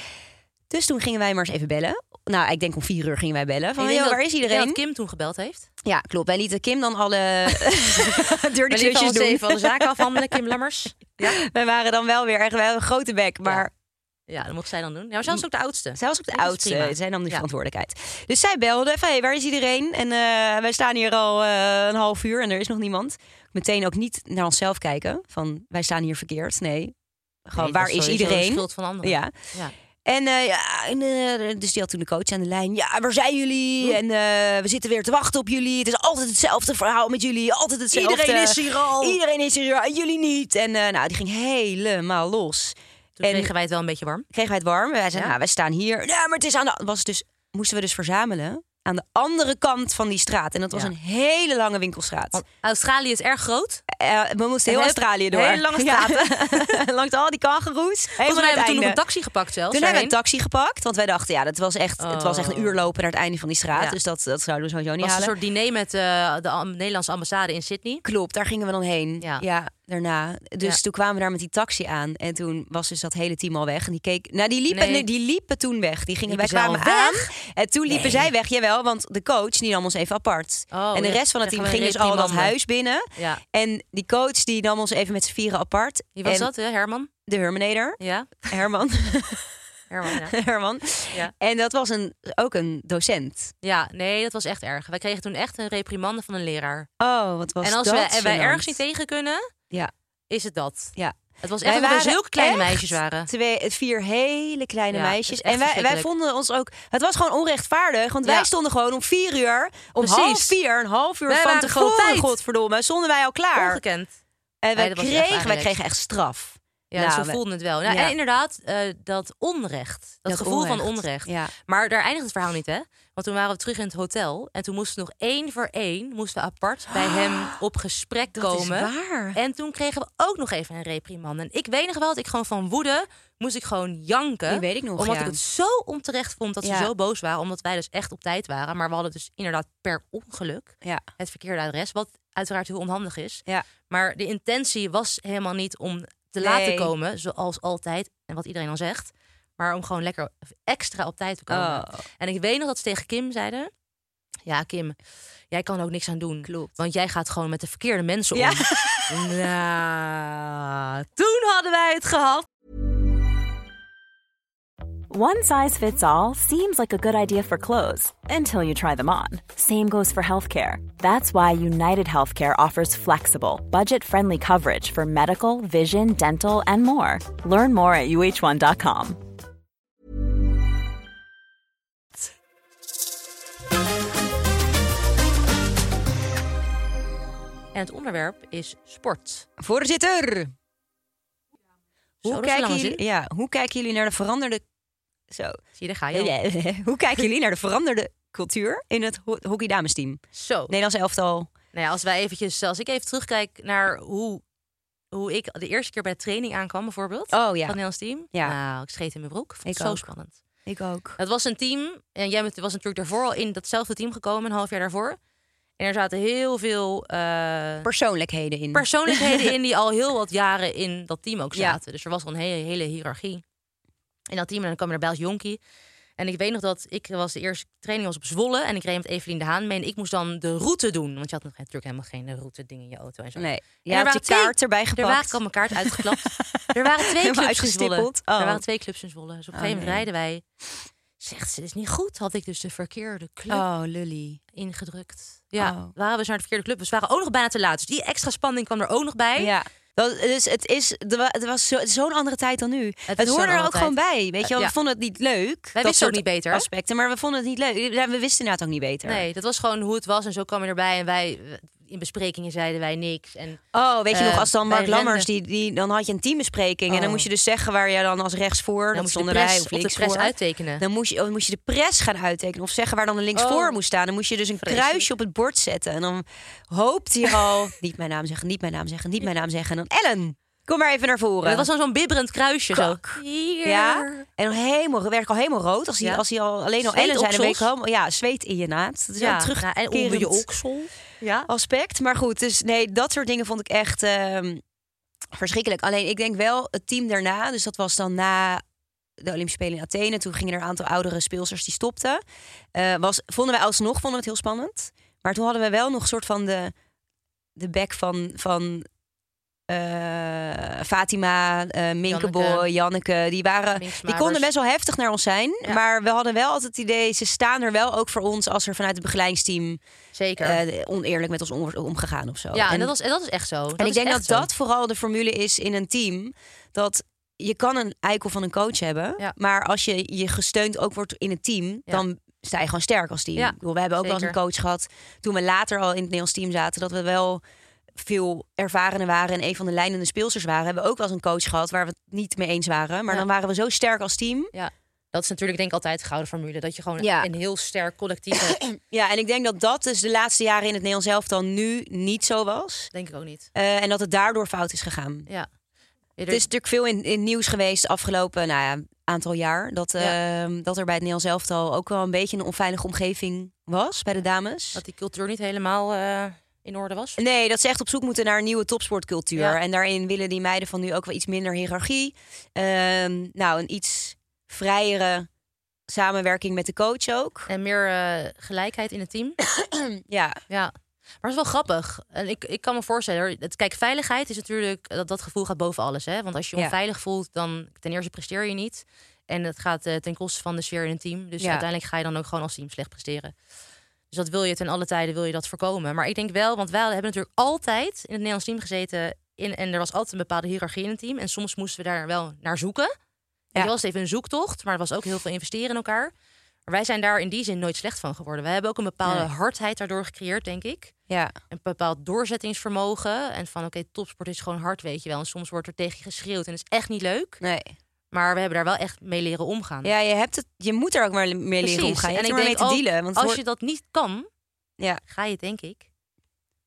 Dus toen gingen wij maar eens even bellen. Nou, ik denk om vier uur gingen wij bellen. Van, Ik denk dat- joh, waar ik is iedereen? denk dat Kim toen gebeld heeft. Ja, klopt. Wij lieten Kim dan <laughs> alle dirty Wij lieten klusjes ons doen. even alle zaken afhandelen, Kim Lammers. <laughs> Wij waren dan wel weer echt wel een grote bek. Maar Ja, dat mocht zij dan doen. Ja, maar zij was ook de oudste. zelfs op de Dat is oudste, prima. zij nam die Ja. verantwoordelijkheid. Dus zij belde van, hey, waar is iedereen? En eh, wij staan hier al eh, een half uur en er is nog niemand. Meteen ook niet naar onszelf kijken. Van, wij staan hier verkeerd. Nee, gewoon, Nee, waar dat is sowieso De iedereen? schuld van anderen. Ja. Ja. En, eh, ja, en, eh, dus die had toen de coach aan de lijn. Ja, waar zijn jullie? Hm. En eh, we zitten weer te wachten op jullie. Het is altijd hetzelfde verhaal met jullie. Altijd hetzelfde. Iedereen is hier al. Iedereen is hier al. En jullie niet. En eh, nou, die ging helemaal los. Toen En- kregen wij het wel een beetje warm. Kregen wij het warm. Wij zeiden, Ja. nou, wij staan hier. Ja, maar het is aan de... Was dus, moesten we dus verzamelen aan de andere kant van die straat. En dat was Ja. een hele lange winkelstraat. Want Australië is erg groot. Eh, we moesten heel Een Australië hele- door. hele lange <laughs> Ja. Langs al die kangeroes. Volgens Helemaal mij hebben naar het we toen nog einde. een taxi gepakt zelfs. Toen hebben we daarheen. een taxi gepakt, want wij dachten, ja, dat was echt, het was echt een Oh. uur lopen naar het einde van die straat. Ja. Dus dat, dat zouden we sowieso niet was een halen. soort diner met eh, de am- Nederlandse ambassade in Sydney. Klopt, daar gingen we dan heen. Ja, Ja. daarna. Dus Ja. toen kwamen we daar met die taxi aan. En toen was dus dat hele team al weg. En die keek. Nou, die liepen, Nee. nee, die liepen toen weg. Die gingen, wij Liepen ze kwamen al aan. weg? En toen liepen zij weg. Jawel, want de coach die nam ons even apart. Oh, en de ja. rest van Zeggen het team we ging dus al reektien dat landen. huis binnen. Ja. En die coach die nam ons even met z'n vieren apart. Wie was En dat, hè? Herman? De Hermanator. Ja, Herman. Herman, <laughs> <laughs> ja. Herman. Ja. En dat was een, ook een docent. Ja, nee, dat was echt erg. Wij kregen toen echt een reprimande van een leraar. Oh, wat was en als dat wij, en wij gênant. ergens niet tegen kunnen, Ja. is het dat. Ja. Het was echt dat we zulke kleine meisjes waren. Twee, vier hele kleine Ja, meisjes. dat is En echt wij, wij verschrikkelijk. vonden ons ook. Het was gewoon onrechtvaardig. Want wij Ja. stonden gewoon om vier uur. Om Precies. half vier, een half uur Wij van waren tevoren. gewoon op tijd. Godverdomme, stonden wij al klaar. Ongekend. en wij Nee, dat was echt kregen, wij aangelegd. kregen echt straf. Ja, Nou, zo we- voelden het wel. Nou, ja. En inderdaad, eh, dat onrecht. Dat, Dat gevoel van onrecht. onrecht. Ja. Maar daar eindigt het verhaal niet, hè? Want toen waren we terug in het hotel. En toen moesten we nog één voor één moesten we apart bij hem op gesprek Ah, Dat is komen. waar. En toen kregen we ook nog even een reprimand. En ik weet nog wel dat ik gewoon van woede moest ik gewoon janken. Die weet ik nog, Omdat ja. ik het zo onterecht vond dat Ja. ze zo boos waren. Omdat wij dus echt op tijd waren. Maar we hadden dus inderdaad per ongeluk Ja. het verkeerde adres. Wat uiteraard heel onhandig is. Ja. Maar de intentie was helemaal niet om te Nee. laten komen. Zoals altijd. En wat iedereen dan zegt. Maar om gewoon lekker extra op tijd te komen. Oh. En ik weet nog dat ze tegen Kim zeiden... Ja, Kim, jij kan er ook niks aan doen. Klopt. Want jij gaat gewoon met de verkeerde mensen om. Ja. Ah. nou, toen hadden wij het gehad. One size fits all seems like a good idea for clothes until you try them on. Same goes for healthcare. That's why United Healthcare offers flexible, budget friendly coverage for medical, vision, dental, and more. Learn more at uh1.com. En het onderwerp is sport. Voorzitter, Zo, dat is hoe een kijken, lange jullie, zin. ja, hoe kijken jullie naar de veranderde... Zo. Zie je, daar ga je al. hoe kijken jullie naar de veranderde cultuur in het ho- hockeydames-team? Zo. Nederlands elftal. Nou ja, als wij eventjes, als ik even terugkijk naar hoe, hoe ik de eerste keer bij de training aankwam, bijvoorbeeld. Oh, ja. Van het Nederlands team. Ja. Nou, ik scheet in mijn broek. Vond Ik het zo ook. spannend. Ik ook. Het was een team, en jij bent- was natuurlijk daarvoor al in datzelfde team gekomen, een half jaar daarvoor. En er zaten heel veel eh, Persoonlijkheden in. persoonlijkheden <laughs> in die al heel wat jaren in dat team ook Ja. zaten. Dus er was al een hele, hele hiërarchie in dat team. En dan kwam er bij als jonkie. En ik weet nog dat ik was de eerste training was op Zwolle. En ik reed met Evelien de Haan mee. En ik moest dan de route doen. Want je had nog- natuurlijk helemaal geen route ding in je auto en zo. Nee. En Je er hebt je waren twee- kaart erbij Er waren, gepakt. ik had mijn kaart <laughs> uitgeklapt. er waren twee Helemaal clubs in Zwolle. uitgestippeld. Oh. Er waren twee clubs in Zwolle. Dus op een Oh, gegeven moment nee. rijden wij. Zegt ze, dit is niet goed. Had ik dus de verkeerde club Oh, lully. ingedrukt. Ja, Oh. waren we dus naar de verkeerde club. Dus we waren ook nog bijna te laat. Dus die extra spanning kwam er ook nog bij. Ja. Dat, dus het is, er wa- het was zo- het is zo'n andere tijd dan nu. Het, is zo'n hoorde er ook andere gewoon bij. Weet je wel, Ja. we vonden het niet leuk. wisten ook dat soort niet beter. Aspecten, maar we vonden het niet leuk. Ja, we wisten inderdaad ook niet beter. Nee, dat was gewoon hoe het was. En zo kwam je erbij. En wij, in besprekingen zeiden wij niks. En Oh, weet je Eh, nog, als dan bij Mark Rende. Lammers, die, die, dan had je een teambespreking. En dan Oh. moest je dus zeggen waar jij dan als rechtsvoor, dan dat moest je de stonden wij, pres, of op de linksvoor. pres uittekenen. Dan moest, je, oh, dan moest je de pres gaan uittekenen. Of zeggen waar dan de linksvoor Oh. moest staan. Dan moest je dus een Vreselijk. kruisje op het bord zetten. En dan hoopte je <laughs> al, niet mijn naam zeggen, niet mijn naam zeggen, niet mijn naam zeggen. En dan, Ellen, kom maar even naar voren. Dat was dan zo'n bibberend kruisje. Kak. Zo. Hier. Ja. En dan helemaal, werd ik al helemaal rood. Als hij, Ja. als hij al alleen al Zweet Ellen zijn, dan ben ik oksels. helemaal, ja, zweet in je naad. Dat is ja. Ja, terug. nou, en onder je oksel. Ja. aspect. Maar goed, dus nee, dat soort dingen vond ik echt ehm, verschrikkelijk. Alleen ik denk wel het team daarna, dus dat was dan na de Olympische Spelen in Athene. Toen gingen er een aantal oudere speelsters die stopten. Eh, was, vonden wij alsnog vonden we het heel spannend. Maar toen hadden we wel nog een soort van de, de back van, van eh, Fatima, eh Minkeboy, Janneke. Janneke. Die, waren, Mink die Smaabers. konden best wel heftig naar ons zijn. Ja. Maar we hadden wel altijd het idee, ze staan er wel ook voor ons... als er vanuit het begeleidingsteam Zeker. eh, oneerlijk met ons om- omgegaan of zo. ja, en, dat, was, en dat is echt zo. en ik is denk echt dat zo. dat vooral de formule is in een team. Dat je kan een eikel van een coach hebben. Ja. Maar als je je gesteund ook wordt in het team, Ja. dan sta je gewoon sterk als team. Ja, Ik bedoel, we hebben ook wel eens een zeker. coach gehad. Toen we later al in het Nederlands team zaten, dat we wel veel ervarenen waren en een van de leidende speelsters waren, hebben we ook wel eens een coach gehad waar we het niet mee eens waren. Maar Ja. dan waren we zo sterk als team. Ja. Dat is natuurlijk denk ik altijd de gouden formule. Dat je gewoon Ja. een heel sterk collectief hebt. Ja, en ik denk dat dat dus de laatste jaren in het Nederlands elftal nu niet zo <coughs> was. denk ik ook niet. Eh, en dat het daardoor fout is gegaan. Ja. Ja, er- Het is natuurlijk veel in, in nieuws geweest de afgelopen nou ja, aantal jaar. Dat, Ja. ehm, dat er bij het Nederlands elftal ook wel een beetje een onveilige omgeving was bij de dames. dat die cultuur niet helemaal eh, in orde was. Nee, dat ze echt op zoek moeten naar een nieuwe topsportcultuur. Ja. En daarin willen die meiden van nu ook wel iets minder hiërarchie. Ehm, nou, een iets vrijere samenwerking met de coach ook. En meer eh, gelijkheid in het team. Ja, Ja. Maar het is wel grappig. En ik, ik kan me voorstellen, hoor. Het- kijk, veiligheid is natuurlijk, eh, dat, dat gevoel gaat boven alles. Hè? Want als je je Ja. onveilig voelt, dan ten eerste presteer je niet. En dat gaat eh, ten koste van de sfeer in een team. Dus Ja. uiteindelijk ga je dan ook gewoon als team slecht presteren. Dus dat wil je ten alle tijden wil je dat voorkomen. Maar ik denk wel, want wij hebben natuurlijk altijd in het Nederlands team gezeten. In, en er was altijd een bepaalde hiërarchie in het team. En soms moesten we daar wel naar zoeken. Ja. Het was even een zoektocht, maar er was ook heel veel investeren in elkaar. Maar wij zijn daar in die zin nooit slecht van geworden. We hebben ook een bepaalde Nee. hardheid daardoor gecreëerd, denk ik. ja. Een bepaald doorzettingsvermogen. En van oké, topsport is gewoon hard, weet je wel. En soms wordt er tegen je geschreeuwd en dat is echt niet leuk. Nee. Maar we hebben daar wel echt mee leren omgaan. Ja, je, hebt het, je moet er ook maar meer leren Precies. omgaan. Je en hebt ik er maar mee denk te ook, dealen. Want het als hoort- je dat niet kan, ja. ga je het denk ik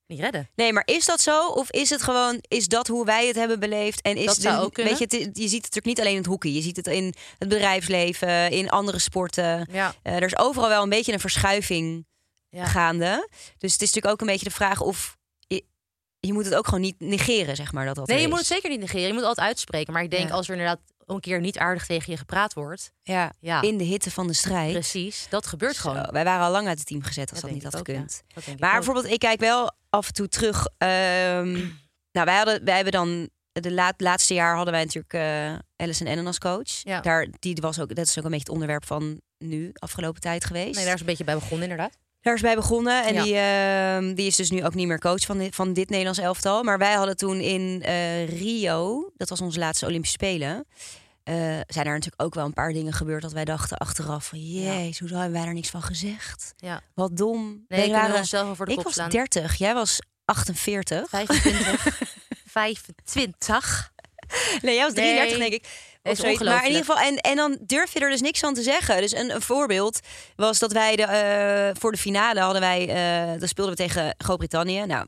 niet redden. Nee, maar is dat zo? Of is het gewoon, is dat hoe wij het hebben beleefd? En is Dat zou de- ook kunnen. Weet je, het, je ziet het natuurlijk niet alleen in het hockey. Je ziet het in het bedrijfsleven, in andere sporten. Ja. Eh, er is overal wel een beetje een verschuiving Ja. gaande. Dus het is natuurlijk ook een beetje de vraag of... Je, je moet het ook gewoon niet negeren, zeg maar, dat dat Nee, er je is. moet het zeker niet negeren. Je moet het altijd uitspreken. Maar ik denk Ja. als er inderdaad een keer niet aardig tegen je gepraat wordt. Ja, Ja. in de hitte van de strijd. Precies, dat gebeurt Zo, gewoon. Wij waren al lang uit het team gezet Dat als dat niet denk had ik ook, ja. gekund. Dat denk ik Maar ook. bijvoorbeeld, ik kijk wel af en toe terug. ehm, <clears throat> nou, wij, hadden, wij hebben dan. De laat, laatste jaar hadden wij natuurlijk eh Alice en Ennen als coach. Ja. Daar, die was ook, dat is ook een beetje het onderwerp van nu, afgelopen tijd geweest. Nee, daar is een beetje bij begonnen inderdaad. Daar is bij begonnen. En Ja. die, ehm, die is dus nu ook niet meer coach van dit, van dit Nederlands elftal. Maar wij hadden toen in eh, Rio, dat was onze laatste Olympische Spelen. eh, zijn er natuurlijk ook wel een paar dingen gebeurd dat wij dachten achteraf van jezus, hoezo hebben wij daar niks van gezegd? Ja. Wat dom. Wij Nee, ik waren- kunnen onszelf wel voor de ik kop was slaan. 30, jij was 48. <laughs> 25. 25. Nee, jij was 33, Nee. denk ik. Nee, Of is zoiets. Maar in ieder ongelooflijk. geval, en, en dan durf je er dus niks van te zeggen. Dus een, een voorbeeld was dat wij de, eh, voor de finale hadden wij, eh dan speelden we tegen Groot-Brittannië. Nou,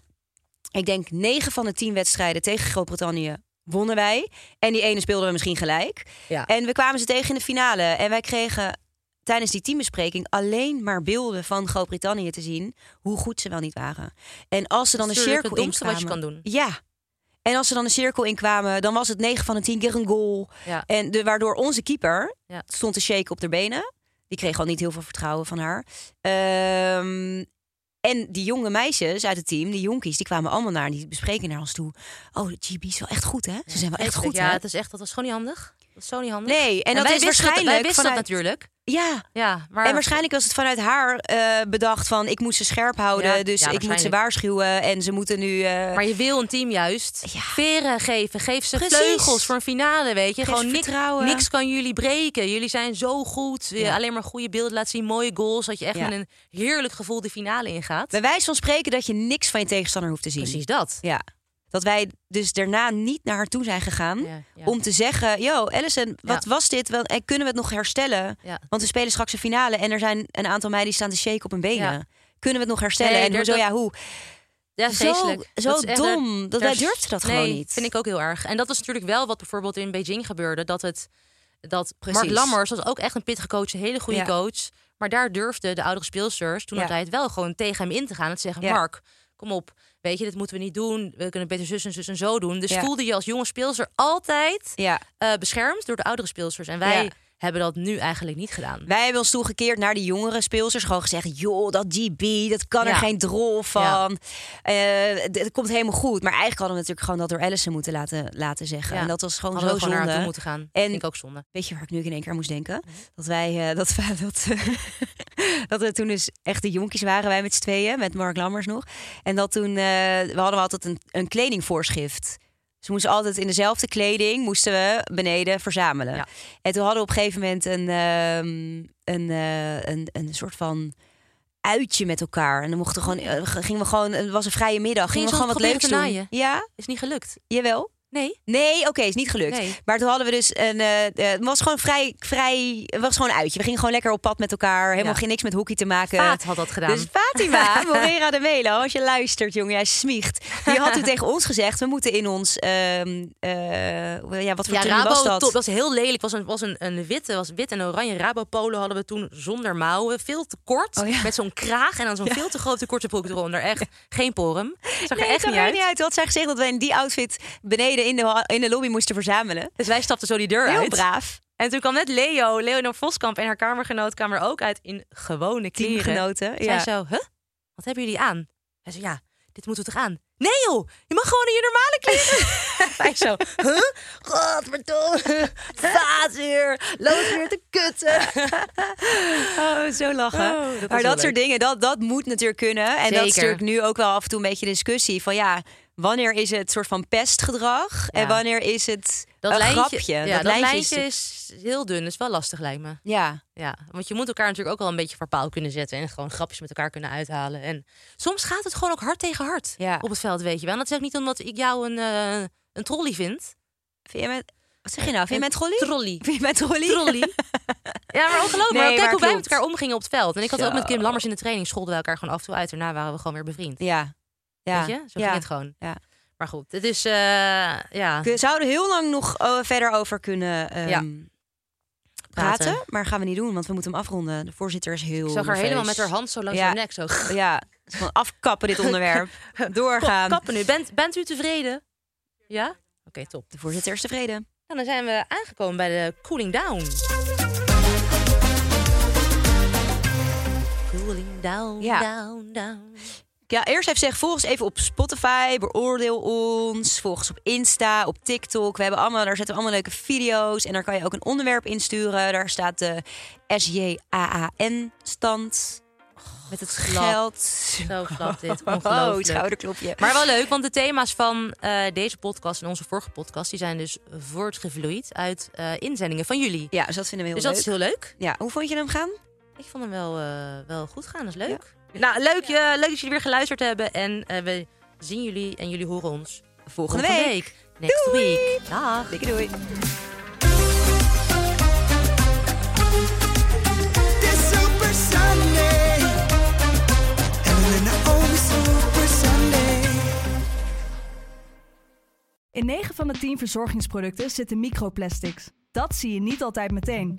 ik denk 9 van de 10 wedstrijden tegen Groot-Brittannië wonnen wij. En die ene speelden we misschien gelijk. Ja. En we kwamen ze tegen in de finale. En wij kregen tijdens die teambespreking alleen maar beelden van Groot-Brittannië te zien. Hoe goed ze wel niet waren. En als ze dan Dat een is natuurlijk cirkel het domste wat je inkwamen- kan doen. Ja. En als ze dan een cirkel inkwamen, dan was het 9 van de 10 keer een goal. Ja. En de, waardoor onze keeper Ja. stond te shaken op de benen. Die kreeg al niet heel veel vertrouwen van haar. Ehm, en die jonge meisjes uit het team, die jonkies, die kwamen allemaal naar die bespreken naar ons toe. Oh, de GB is wel echt goed, hè? Ze zijn wel echt goed, Ja, hè? het is echt, dat was gewoon niet handig. Dat is zo niet handig. Nee, en, En dat wij is wisten dat- waarschijnlijk wij wisten dat vanuit- natuurlijk. Ja, Ja, maar en waarschijnlijk was het vanuit haar eh, bedacht van... ik moet ze scherp houden, Ja, dus ja, ik moet ze waarschijnlijk. waarschuwen... en ze moeten nu... eh, Maar je wil een team juist Ja. veren geven. Geef ze Precies. vleugels voor een finale, weet je. Geef Gewoon ze niks, vertrouwen. niks kan jullie breken. Jullie zijn zo goed. Je Ja. Alleen maar goede beelden laten zien, mooie goals. Dat je echt Ja. met een heerlijk gevoel de finale ingaat. Bij wijze van spreken dat je niks van je tegenstander hoeft te zien. Precies dat. Ja. Dat wij dus daarna niet naar haar toe zijn gegaan... Ja, ja. om te zeggen, yo, Allison, wat was dit? Wel, En kunnen we het nog herstellen? Ja. Want we spelen straks een finale... en er zijn een aantal meiden die staan te shaken op hun benen. Ja. Kunnen we het nog herstellen? Nee, en er- hoezo, dat- ja, hoe? Ja, Zo- vreselijk. zo Dat is echt- dom. Dat- daar- wij durfden dat nee, gewoon niet. vind ik ook heel erg. En dat was natuurlijk wel wat bijvoorbeeld in Beijing gebeurde. Dat het dat Precies. Mark Lammers was ook echt een pittige coach, een hele goede Ja. coach. Maar daar durfden de oudere speelsters toen Ja. altijd wel gewoon tegen hem in te gaan. En te zeggen, Ja. Mark, kom op, weet je, dit moeten we niet doen. We kunnen beter zus en zus en zo doen. Dus Ja. voelde je als jonge speelster altijd Ja. eh, beschermd door de oudere speelsters. En wij Ja. hebben dat nu eigenlijk niet gedaan. Wij hebben ons toegekeerd naar die jongere speelsters. Gewoon gezegd, joh, dat GB, dat kan er Ja. geen drol Ja. van. Eh, d- het komt helemaal goed. Maar eigenlijk hadden we natuurlijk gewoon dat door Allison moeten laten, laten zeggen. Ja. En dat was gewoon Hadden zo we gewoon naar haar toe zonde. moeten gaan. En- Vind ik ook zonde. Weet je waar ik nu in één keer aan moest denken? Mhm. Dat wij, eh, dat, wij- <laughs> dat, dat we toen dus echt de jonkies waren, wij met z'n tweeën, met Mark Lammers nog. En dat toen, eh, we hadden altijd een, een kledingvoorschrift. Ze moesten altijd in dezelfde kleding, moesten we beneden verzamelen. Ja. En toen hadden we op een gegeven moment een, ehm, een, eh, een, een soort van uitje met elkaar. En dan mochten we gewoon, eh, g- gingen we gewoon, het was een vrije middag, Ging gingen je we gewoon wat soms leuks proberen te doen. Ja, Is niet gelukt. jawel. Nee. Nee, oké, is niet gelukt. Nee. Maar toen hadden we dus een. eh, eh, het was gewoon vrij, vrij. Het was gewoon een uitje. We gingen gewoon lekker op pad met elkaar. Helemaal Ja. geen niks met hockey te maken. Paat had dat gedaan. Dus <laughs> Fatima Moreira de Melo, als je luistert, jongen, jij smiegt. Die <laughs> had toen tegen ons gezegd: we moeten in ons. ehm, eh, ja, wat voor Ja, tenue Rabo was dat? top. Dat was heel lelijk. Was een, was een, een witte, was wit en oranje Rabo polo hadden we toen zonder mouwen, veel te kort, Oh ja. met zo'n kraag en dan zo'n veel te grote korte broek eronder. Echt geen porum. Zag Nee, er echt zag niet er uit. niet uit. Toen had zij gezegd dat we in die outfit beneden in de, ha- in de lobby moesten verzamelen. Dus wij stapten zo die deur Heel uit. braaf. En toen kwam net Leo, Leonor Voskamp en haar kamergenoot kwamen er ook uit in gewone kleren. Teamgenoten. Zij Ja. zo, huh? Wat hebben jullie aan? Hij zei, ja, dit moeten we toch aan? Nee joh, je mag gewoon in je normale kleren. <laughs> Wij zo, huh? Godverdomme, vaat weer, loop weer te kutten. Oh, zo Oh, lachen. dat was maar wel dat soort leuk. dingen, dat, dat moet natuurlijk kunnen. En dat is Zeker. natuurlijk nu ook wel af en toe een beetje discussie van ja, wanneer is het soort van pestgedrag en Ja. wanneer is het dat een lijntje, grapje? Ja, dat, lijntje is- is, heel dun. is wel lastig, lijkt me. Ja, Ja, want je moet elkaar natuurlijk ook wel een beetje voor paal kunnen zetten. En gewoon grapjes met elkaar kunnen uithalen. En soms gaat het gewoon ook hard tegen hard Ja. op het veld, weet je wel. En dat zeg ik niet omdat ik jou een, eh, een trolley vind. vind je met, wat zeg je nou? Vind je Een met Golly? Trolley. Vind je met Golly? Trolley. ja, maar ongelooflijk. Nee, maar kijk maar hoe wij met klopt. elkaar omgingen op het veld. En ik had het ook met Kim Zo. Lammers in de training. Scholden we elkaar gewoon af en toe uit. Daarna waren we gewoon weer bevriend. <laughs> Ja. ja. Weet je? Zo ja. ging het gewoon. Ja. Maar goed, het is... eh, ja, We zouden heel lang nog eh, verder over kunnen ehm, Ja. praten, Praten. maar gaan we niet doen, want we moeten hem afronden. De voorzitter is heel. ik zag haar nerveus. helemaal met haar hand zo langs Ja. haar nek. Zo. Ja, gewoon afkappen <laughs> dit onderwerp. Doorgaan. Kappen nu. Bent, bent u tevreden? Ja? Oké, top. De voorzitter is tevreden. Nou, dan zijn we aangekomen bij de cooling down. Cooling down, Ja. down, down. Ja, eerst even zeggen, volg ons even op Spotify, beoordeel ons. Volg ons op Insta, op TikTok. We hebben allemaal, daar zetten we allemaal leuke video's. En daar kan je ook een onderwerp insturen. Daar staat de SJAAN-stand. Oh, Met het slap. geld. Zo slap <laughs> dit, Oh, ongelooflijk. het schouderklopje. Maar wel leuk, want de thema's van eh, deze podcast en onze vorige podcast... die zijn dus voortgevloeid uit eh, inzendingen van jullie. Ja, dus dat vinden we heel dus dat is leuk. heel leuk. Ja, hoe vond je hem gaan? Ik vond hem wel, eh, wel goed gaan, dat is leuk. Nou, leuk, je leuk dat jullie weer geluisterd hebben. En eh, we zien jullie en jullie horen ons volgende, week. Next Doei. week. Dag. Dikke doei. This Super Sunday, Evelina on Super Sunday. In 9 van de 10 verzorgingsproducten zitten microplastics. Dat zie je niet altijd meteen.